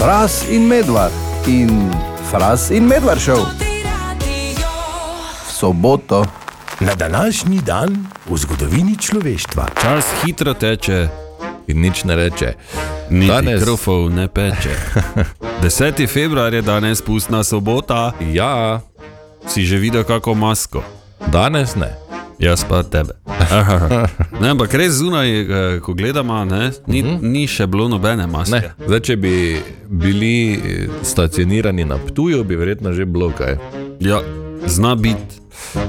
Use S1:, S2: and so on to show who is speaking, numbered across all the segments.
S1: Fras in medvard in fras in medvard šel v soboto.
S2: Na današnji dan v zgodovini človeštva.
S3: Čas hitro teče,
S4: in nič ne reče.
S3: niti
S4: Danes-
S3: krofov ne peče. 10. februar je danes pustna sobota,
S4: Ja,
S3: si že videl kako masko.
S4: danes ne.
S3: Jaz pa tebe. Ne, ampak res zunaj, eh, ko gledamo, ne, ni, ni še bilo nobene maske.
S4: ne. Zdaj, če bi bili eh, stacionirani na Ptuju, bi verjetno že bilo kaj.
S3: Ja, zna biti.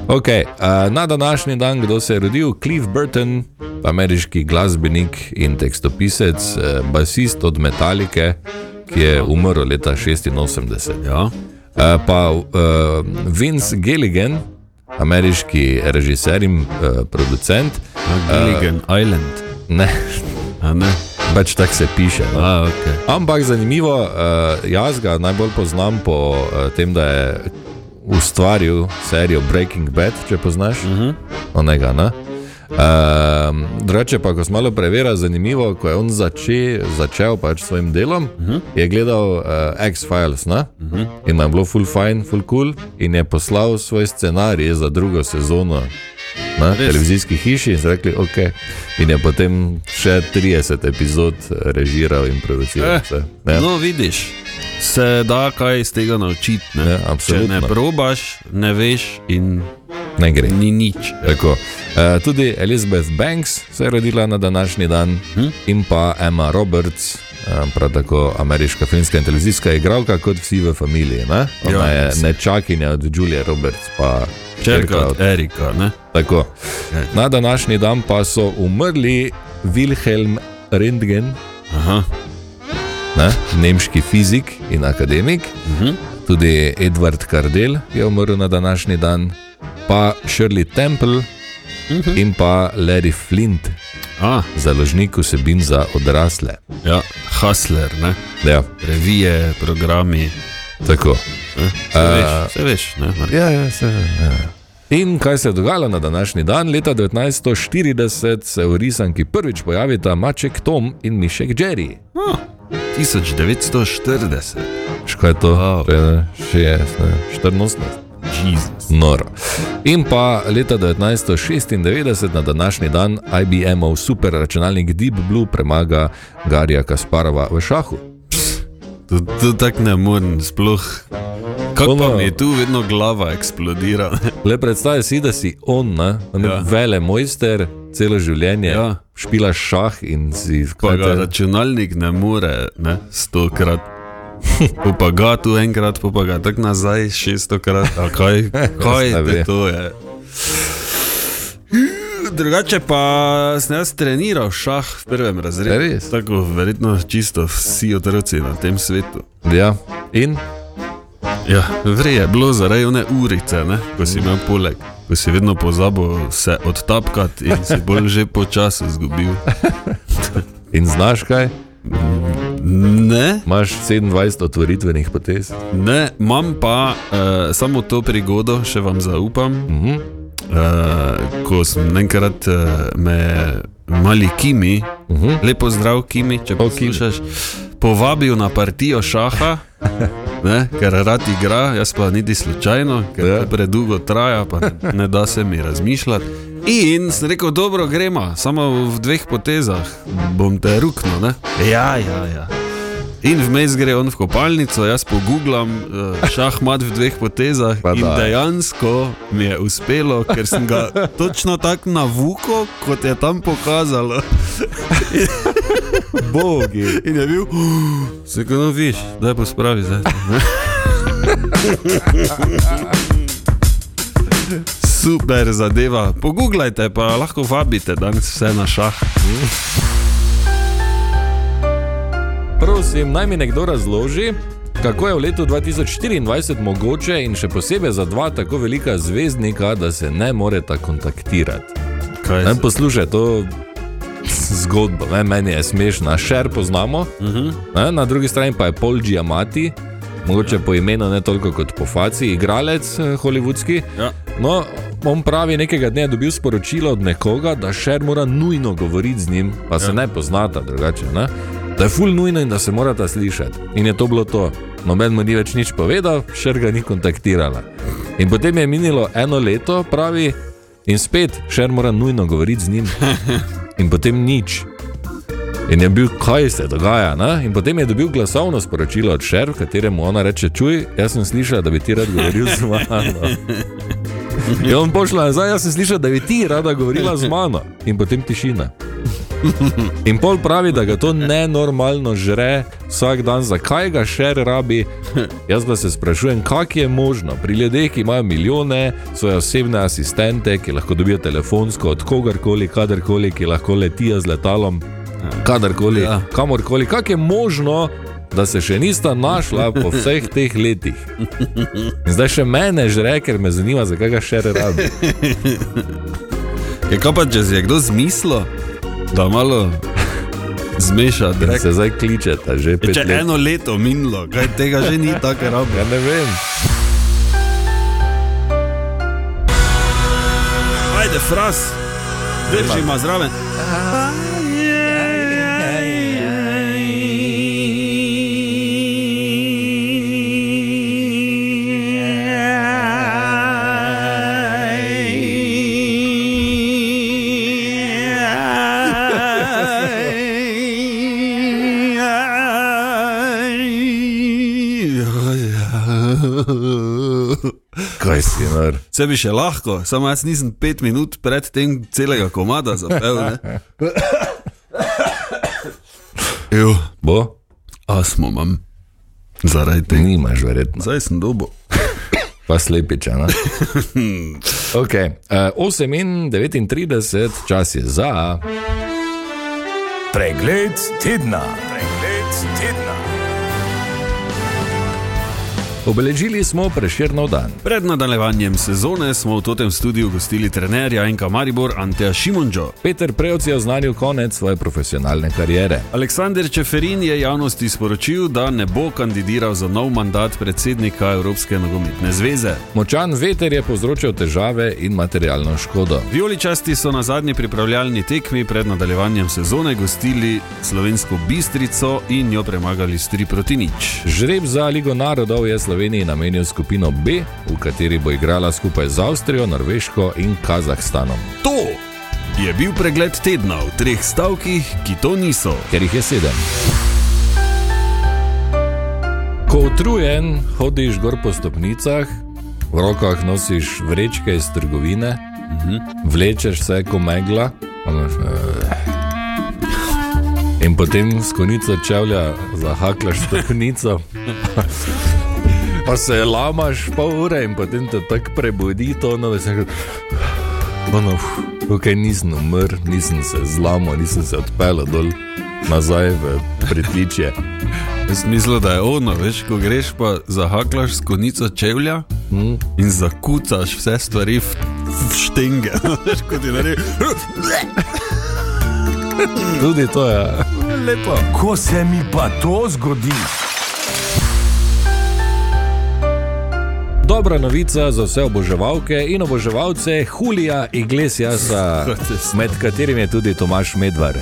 S4: Okay, uh, na današnji dan, kdo se je rodil, Cliff Burton, ameriški glasbenik in tekstopisec, eh, basist od Metallike, ki je umrl leta 86.
S3: Ja.
S4: Eh, pa uh, Vince Gilligan, ameriški režiser in uh, producent.
S3: Gilligan uh, Island.
S4: Ne,
S3: A ne?
S4: pač tako se piše. No.
S3: A, okay.
S4: Ampak zanimivo, uh, jaz ga najbolj poznam po uh, tem, da je ustvaril serijo Breaking Bad, če poznaš. Uh -huh. Onega, ne. Uh, Drugače pa, ko smo malo preverili, zanimivo, ko je on zače, začel pač s svojim delom, uh -huh. je gledal uh, X-Files uh -huh. in nam je bilo full fine, full cool, in je poslal svoj scenarij za drugo sezono na televizijski hiši in so rekli, ok. In je potem še 30 epizod režiral in produciral.
S3: Eh,
S4: vse.
S3: ja.
S4: Ne?
S3: No, vidiš, se da kaj iz tega naučiti. Ne?
S4: Ja,
S3: Če
S4: absolutno.
S3: ne probaš, ne veš in
S4: Ne gre.
S3: ni nič.
S4: Tako. E, tudi Elizabeth Banks se je rodila na današnji dan, hm? in pa Emma Roberts, e, prav tako ameriška filmska in televizijska igralka, kot vsi v familiji. Ne?
S3: Ja,
S4: Ona je
S3: res.
S4: nečakinja od Julie Roberts, pa
S3: Črka od Erika. Ne?
S4: Tako.
S3: Ja.
S4: Na današnji dan pa so umrli Wilhelm Rentgen,
S3: Aha,
S4: ne? nemški fizik in akademik,
S3: uh -huh.
S4: tudi Edward Kardel je umrl na današnji dan, pa Shirley Temple in pa Larry Flint,
S3: A,
S4: založnik vsebin za odrasle.
S3: ja, Hasler, ne?
S4: Ja,
S3: revije, programi.
S4: tako.
S3: Vse veš, vse veš ne? Marko?
S4: Ja, ja, se, ja. In kaj se je dogajalo na današnji dan? Leta 1940 se v risanki prvič pojavita Maček Tom in Mišek Jerry.
S3: No, 1940,
S4: Škoda je to,
S3: Wow.
S4: to je 64,
S3: Jezus.
S4: noro. In pa leta 1996 na današnji dan IBM-ov superračunalnik Deep Blue premaga Garija Kasparova v šahu.
S3: To, to tako ne morem, sploh. Kako
S4: Ono-
S3: pa mi tu vedno glava eksplodira? ne?
S4: Le predstavljaj si, da si on, ne? on ja.
S3: Ja.
S4: vele mojster, celo življenje ja.
S3: Ja.
S4: špilaš šah in si
S3: Pa
S4: kaj
S3: ga
S4: te-
S3: računalnik ne more, ne, stokrat. Po Pa ga tu enkrat, po pa ga tako nazaj šestokrat. A Kaj, kaj
S4: ne ve.
S3: te to je? Drugače pa sem jaz treniral šah v prvem razredu.
S4: Res?
S3: Tako verjetno čisto vsi otroci na tem svetu.
S4: Ja. In
S3: Ja, vrej je bilo zaradi one urice, ne? ko si imel poleg, ko si vedno pozabil se odtapkati in si bolj že po času izgubil.
S4: In znaš kaj?
S3: Ne?
S4: Imaš 27 otvoritvenih potez.
S3: Ne, imam pa uh, samo to prigodo, še vam zaupam. Uh -huh. uh, ko sem enkrat uh, me je mali Kimi, uh -huh. lepo zdrav Kimi, če poslušaš, povabil na partijo šaha. Ne, ker rad igra, jaz pa niti slučajno, ker
S4: Ja.
S3: ja. predugo traja, pa ne, ne da se mi razmišljati. In sem rekel, dobro, gremo, samo v dveh potezah bom te ruknil. ne." Ja, ja, ja. In vmes gre on v kopalnico, jaz pogooglam eh, šahmat v dveh potezah.
S4: Pa
S3: In
S4: daj.
S3: dejansko mi je uspelo, ker sem ga točno tako navuko, kot je tam pokazalo.
S4: Bogi.
S3: In je bil, se ga no viš, da pospravi zdaj. ne." Super zadeva. Poglejte, pa lahko vabite danes vse na šah.
S4: Prosim, naj mi nekdo razloži, kako je v letu 2024 mogoče in še posebej za dva tako velika zvezdnika, da se ne moreta kontaktirati.
S3: Kaj
S4: Ne, poslušaj to zgodbo, ne, meni je smešna, šer poznamo,
S3: Uh -huh.
S4: ne, na drugi strani pa je Paul Giamatti. Mogoče po imenu ne toliko kot po faci, igralec eh, holivudski.
S3: Ja.
S4: No, on pravi, nekega dne je dobil sporočilo od nekoga, da šer mora nujno govoriti z njim, pa se ja. ne poznata drugače. Ne? Da je ful nujno in da se morata slišati. In je to bilo to. Noben mu ni več nič povedal, šer ga ni kontaktirala. In potem je minilo eno leto, pravi, in spet šer mora nujno govoriti z njim. In potem nič. In je bil, kaj se dogaja. Ne? In potem je dobil glasovno sporočilo od šer, v katerem mu ona reče: Čuj, jaz sem slišala, da bi ti rad govoril z mano. In on pošla nazaj, jaz sem slišala, da bi ti rada govorila z mano. In potem tišina. In pol pravi, da ga to nenormalno žre vsak dan, zakaj ga še rabi. Jaz pa se sprašujem, kako je možno pri ljudeh, ki imajo milijone, svoje osebne asistente, ki lahko dobijo telefonsko od kogarkoli, kadarkoli, ki lahko letijo z letalom, kadarkoli,
S3: Ja.
S4: kamorkoli, kako je možno. Da se še nista našla po vseh teh letih. In zdaj še mene žre, ker me zanima, zakaj ga še rabi.
S3: Je kaj pa, če si je kdo zmislil, da malo zmeša, da
S4: In
S3: rečeš.
S4: se zdaj kličete, že pet
S3: Če
S4: let.
S3: eno leto minilo, kaj tega že ni tako rabo.
S4: Ja ne vem.
S3: Ajde, fras, drži ima zraven.
S4: Kaj si, nor?
S3: Vse bi še lahko, samo jaz nisem pet minut pred tem celega komada zapel. ne. Jo,
S4: Bo?
S3: asmo imam, zaradi tega.
S4: Nimaš, verjetno.
S3: Zdaj sem dobo.
S4: Pa slepiča. ne? okay. uh, 8 in 39, čas je za.
S2: Pregled tedna. Pregled tedna.
S4: Obeležili smo preširnov dan.
S3: Pred nadaljevanjem sezone smo v tem studiu gostili trenerja in kamaribor Anteja Šimončo.
S4: Peter Prevc je oznanil konec svoje profesionalne kariere.
S3: Aleksandr Čeferin je javnosti sporočil, da ne bo kandidiral za nov mandat predsednika Evropske nogometne zveze.
S4: Močan veter je povzročil težave in materialno škodo.
S3: Vijoličasti so na zadnji pripravljalni tekmi pred nadaljevanjem sezone gostili slovensko bistrico in jo premagali s 3 proti nič.
S4: Žreb za Ligo narodov je Sloveniji namenil skupino B, v kateri bo igrala skupaj z Avstrijo, Norveško in Kazahstanom,
S3: To je bil pregled tedna v treh stavkih, ki to niso.
S4: ker jih je sedem. Ko utrujen hodiš gor po stopnicah, v rokah nosiš vrečke iz trgovine, vlečeš se kot megla. ono, eh, In potem s konico čevlja zahaklaš stopnico, pa se lamaš pol ure in potem te tako prebudi, to ono, da se rečeš, ono, ok, nisem umrl, nisem se zlomil, nisem se odpeljal dol nazaj v pritličje.
S3: Jaz mislim, da je ono, veš, ko greš pa zahaklaš s konico čevlja mm. in zakucaš vse stvari v, v štenge. Veš, kot je naredil.
S4: Tudi to ja. je.
S3: Lepo.
S2: Ko se mi pa to zgodi?
S4: Dobra novica za vse oboževalke in oboževalce Julija Iglesiasa, med katerim je tudi Tomaš Medvar.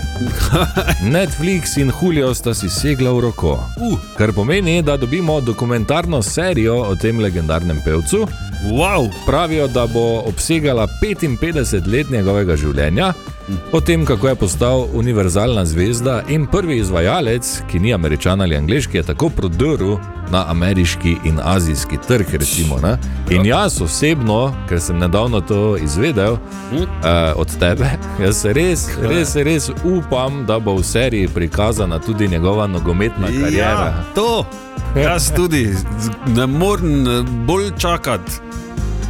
S4: Netflix in Julio sta si segla v roko, uh, kar pomeni, da dobimo dokumentarno serijo o tem legendarnem pevcu.
S3: Wow,
S4: Pravijo, da bo obsegala 55 let njegovega življenja, o tem, kako je postal univerzalna zvezda in prvi izvajalec, ki ni američan ali angliški, je tako prodrl na ameriški in azijski trg. Recimo, ne? in jaz osebno, ker sem nedavno to izvedel uh, od tebe, jaz res, res, res upam, da bo v seriji prikazana tudi njegova nogometna karijera.
S3: Ja, to. Jaz tudi z- ne morem eh, bolj čakati.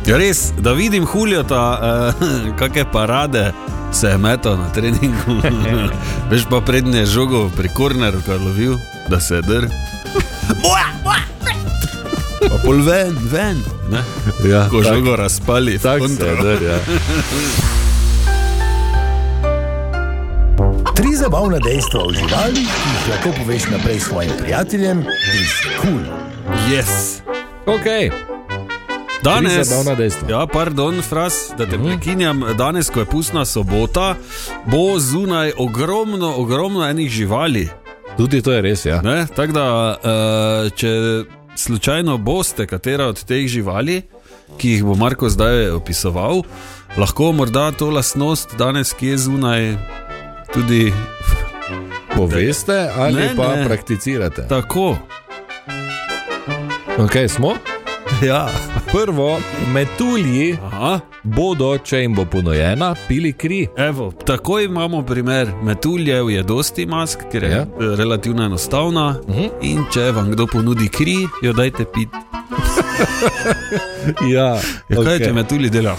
S3: Res, da vidim huljota, eh, kakšne parade se je metal na treningu. Veš pa prednje je žogo pri korneru, kar lovil, da se je drl. Pa pol ven, ven. Ne?
S4: Ja,
S3: Ko
S4: tako.
S3: žogo razpali, v
S4: Tako se ja.
S3: kontro.
S4: je, da je.
S2: Tri zabavna dejstva o živalih, ki jih lahko poveš naprej svojim prijateljem, iz kul. Cool.
S3: Yes.
S4: Okay.
S3: Danes,
S4: Tri zabavna dejstva.
S3: ja, pardon, fras, da te prekinjam. Danes, ko je pustna sobota, bo zunaj ogromno, ogromno enih živali.
S4: Tudi to je res, ja.
S3: Ne? Tako da, eh, če slučajno boste katera od teh živali, ki jih bo Marko zdaj opisoval, lahko morda to lastnost danes, ki je zunaj, tudi
S4: Poveste ali
S3: Ne,
S4: ne, pa
S3: ne.
S4: ne. prakticirate.
S3: tako.
S4: Okay, smo?
S3: Ja.
S4: Prvo, metulji
S3: Aha,
S4: bodo, če jim bo ponujena, pili kri.
S3: evo, tako imamo primer. Metuljev je dosti mask, ker je
S4: Ja.
S3: ja. relativno enostavna. Uh -huh. In če vam kdo ponudi kri, jo dajte pit.
S4: Ja,
S3: Ja, okay. Kaj če metulji delajo?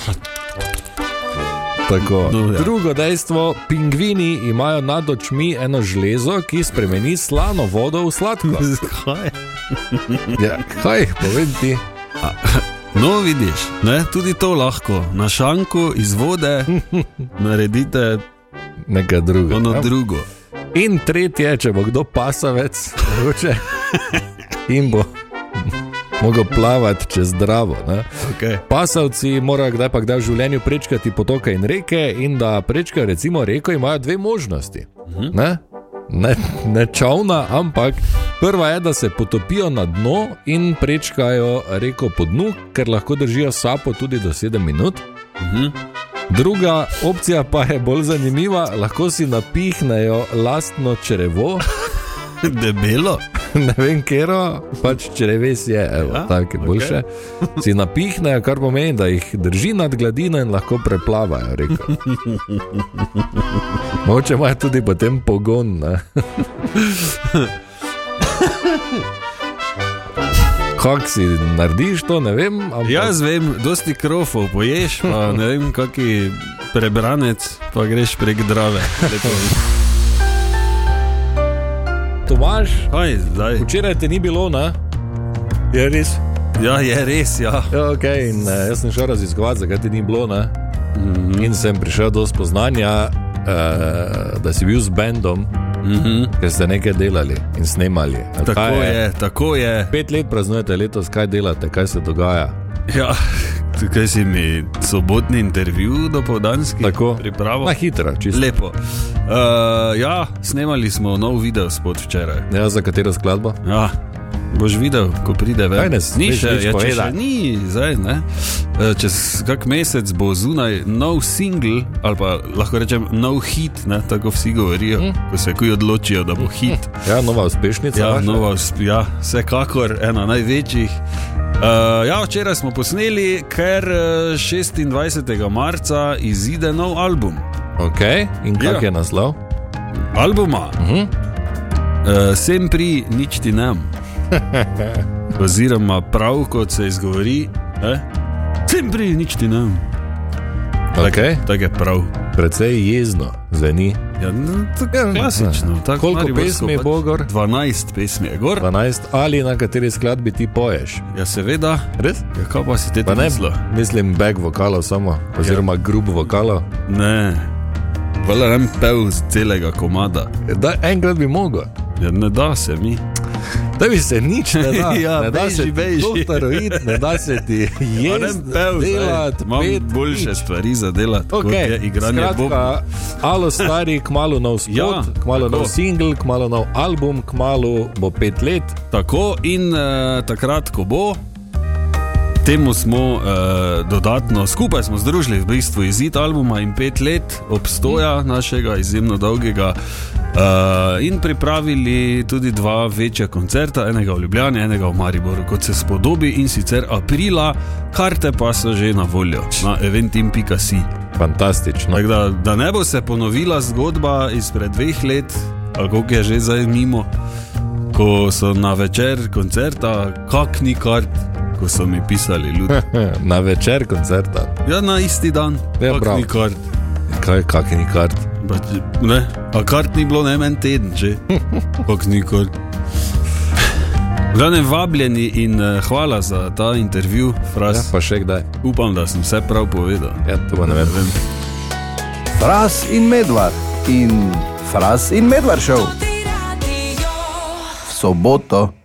S4: Tako.
S3: No, ja.
S4: Drugo dejstvo, pingvini imajo nad očmi eno železo, ki spremeni slano vodo v sladko.
S3: Kaj?
S4: Ja, kaj, povem ti.
S3: No, vidiš, ne? tudi to lahko. Na šanku iz vode naredite
S4: Nekaj drugega.
S3: ono drugo.
S4: In tretje, če bo kdo pasavec, mogoče, in bo mogel plavati čez zdravo. Ne?
S3: Okay.
S4: Pasavci morajo kdaj pa kdaj v življenju prečkati potoke in reke, in da prečkajo recimo reko, imajo dve možnosti. Ne? Ne, ne čovna, ampak prva je, da se potopijo na dno in prečkajo reko po dnu, ker lahko držijo sapo tudi do 7 minut.
S3: Mhm.
S4: Druga opcija pa je bolj zanimiva, lahko si napihnejo lastno črevo,
S3: Debelo.
S4: ne vem, kero, pač čreves je, evo,
S3: Ja,
S4: tako je
S3: ok.
S4: boljše. Si napihnejo, kar pomeni, da jih drži nad gladino in lahko preplavajo. reko. Mogoče imajo tudi potem pogon. Ne? Kak si narediš to, ne vem. Ampak...
S3: Jaz vem, dosti krofov poješ, pa ne vem, kaki prebranec, pa greš prek drave. Lepo.
S4: Tomaž,
S3: Kaj zdaj?
S4: včeraj te ni bilo, ne? Je res.
S3: Ja, je res, ja.
S4: Ja, okay, in, eh, jaz sem šel raziskovati, zakaj ti ni bilo. Ne?
S3: Mhm.
S4: In sem prišel do spoznanja, eh, da si bil z bendom,
S3: Mhm.
S4: ker ste nekaj delali in snemali. Ali
S3: Tako
S4: kaj
S3: je, tako je.
S4: Pet let praznujete letos, kaj delate, kaj se dogaja.
S3: Ja, tukaj si mi sobotni intervju do povdanskih.
S4: Tako.
S3: Pripravo.
S4: Na hitro, čisto.
S3: Lepo. Uh, ja, snemali smo nov video spod včeraj.
S4: Ja, za katero skladbo?
S3: Ja, boš videl, ko pride ven.
S4: Kaj ne smeš
S3: ni še,
S4: nič
S3: ja, če še
S4: povedati?
S3: ni, zdaj ne. Eh, Čez kak mesec bo zunaj nov single, ali pa lahko rečem nov hit, ne, tako vsi govorijo, mm.
S4: Mhm.
S3: ko se kuj odločijo, da bo hit.
S4: Ja, nova uspešnica.
S3: Ja,
S4: vaša?
S3: nova, usp- ja, vsekakor ena največjih. Uh, ja, včeraj smo posneli, ker eh, 26. marca izide nov album.
S4: Okay. In kak
S3: Ja.
S4: je naslov?
S3: albuma. Uh
S4: Mhm.
S3: -huh. uh, sem pri nič ti nam. Oziroma, prav kot se izgovori, eh? sem pri nič ti nam.
S4: Okay.
S3: Tako je prav.
S4: Predvsej jezno zveni.
S3: Ja, no, tako
S4: Ja,
S3: je klasično.
S4: ja.
S3: Tako
S4: Koliko
S3: mariborsko
S4: pesmi je
S3: pač.
S4: bilo gor?
S3: 12 pesmi je gor.
S4: 12 ali na kateri skladbi ti poješ.
S3: Ja, seveda,
S4: Res?
S3: ja, kaj pa si te
S4: Pa
S3: tam
S4: ne,
S3: zlo.
S4: mislim, beg vokalov samo, oziroma ja. grub vokalov.
S3: Ne, vala nam pev z celega komada.
S4: Da, enkrat bi mogel,
S3: Ja, ne da se mi.
S4: da bi se nič ne da,
S3: Ja,
S4: ne da
S3: beži,
S4: se ti
S3: beži.
S4: doktorit, ne da se ti
S3: Jaz
S4: jesti, delati,
S3: Ja, imam
S4: pet
S3: boljše
S4: nič.
S3: stvari za delati, okay. kot je
S4: Okay.
S3: igranje bobna.
S4: Skratka, alo stari, kmalo nov spot,
S3: Ja,
S4: ja, kmalo
S3: tako.
S4: nov single, kmalo nov album, kmalo bo pet let.
S3: Tako in uh, takrat, ko bo, temu smo uh, dodatno, skupaj smo združili v bistvu izid albuma in pet let obstoja našega izjemno dolgega. Uh, in pripravili tudi dva večja koncerta, enega v Ljubljani, enega v Mariboru, kot se spodobi in sicer aprila, karte pa so že na voljo na eventim.si.
S4: Fantastično.
S3: Tako Da, da ne bo se ponovila zgodba izpred dveh let, ali kako je že zdaj mimo, ko so na večer koncerta, kak ni kart, ko so mi pisali ljudje.
S4: Na večer koncerta,
S3: Ja, na isti dan,
S4: Ja,
S3: kak
S4: prav.
S3: ni kart.
S4: kaj kakšni kart.
S3: Pa če- Ne, a kart ni bilo ne en teden že, kak ni kart. Glavne vabljeni in eh, hvala za ta intervju,
S4: Ja,
S3: Fras.
S4: pa še kdaj.
S3: Upam, da sem vse prav povedal.
S4: Ja, to pa ne vem.
S1: Fras in medvard in Fras in medvard šel
S5: Ti radio.
S1: v soboto.